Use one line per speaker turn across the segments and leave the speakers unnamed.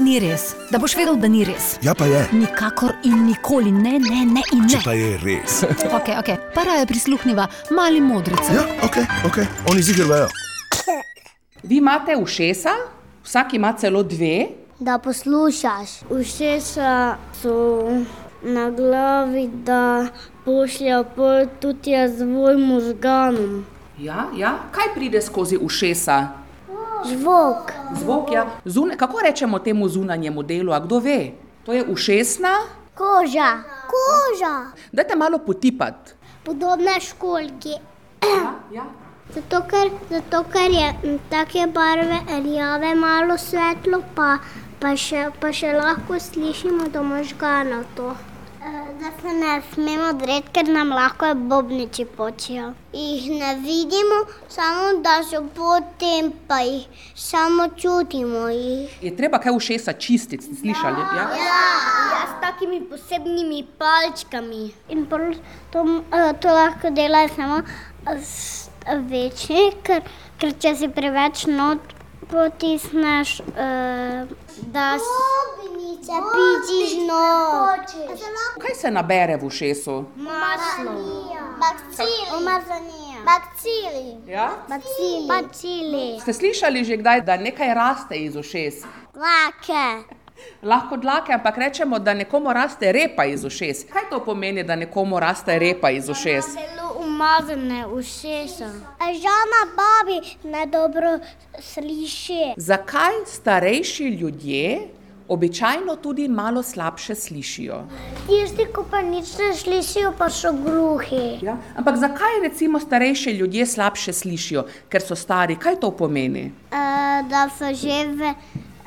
ni res, da boš vedel, da ni res.
Ja, pa je.
Nikakor in nikoli ne, ne, ne in
Če
ne.
pa je res.
Okay, okay. Para je prisluhnila mali modrici.
Ja, ok, ok, oni zigrajo.
Vi imate ušesa, vsak ima celo dve,
da poslušaš. Ušesa so na glavi, da pošljajo pol tudi razvoj možganov.
ja, ja. kaj pride skozi ušesa?
Zvok,
Zvok, ja. Zune, kako rečemo temu zunanjemu delu, a kdo ve? To je ušesna,
koža, koža,
da te malo potipati.
podobne školki.
Ja, ja.
Zato ker, zato, ker je m, take barve rjave, malo svetlo, pa, pa, še, pa še lahko slišimo do možganov to. E, Da se ne smemo dreti, ker nam lahko bobniči počijo. Jih ne vidimo, samo da so potem, pa jih samo čutimo. Jih.
Je treba kaj ušesa čistiti, ste slišali? Ja.
Ja, s takimi posebnimi palčkami. In pol to, eh, to lahko delajo samo eh, s- večji, ker, ker če si preveč not potisneš, eh, da si. Bobnice, pičiš noč.
Kaj se nabere v ušesu?
Maslo. Bakcili. Umazanija. Bakcili.
Ja?
Bakcili. Bakcili.
Ste slišali že kdaj, da nekaj raste iz ušes?
Dlake.
Lahko dlake, ampak rečemo, da nekomu raste repa iz ušes. Kaj to pomeni, da nekomu raste repa iz ušes?
Zelo umazane ušesa. Žana babi ne dobro sliši.
Zakaj starejši ljudje običajno tudi malo slabše slišijo?
Tisti, ki pa nič ne slišijo, pa so gluhi.
Ja? Ampak zakaj recimo starejši ljudje slabše slišijo, ker so stari? Kaj to pomeni?
E, da so že ve,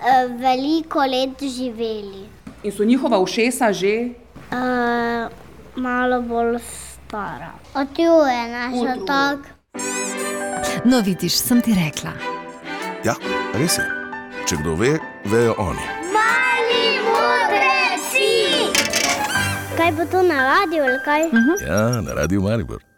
e, veliko let živeli.
In so njihova ušesa že
E, malo bolj stara. Odjuje naš otok.
No, vidiš, sem ti rekla.
Ja, res je. Če kdo ve, vejo oni.
Mali modreci! Kaj bo to na radiju ali kaj?
Ja, na radiju Maribor.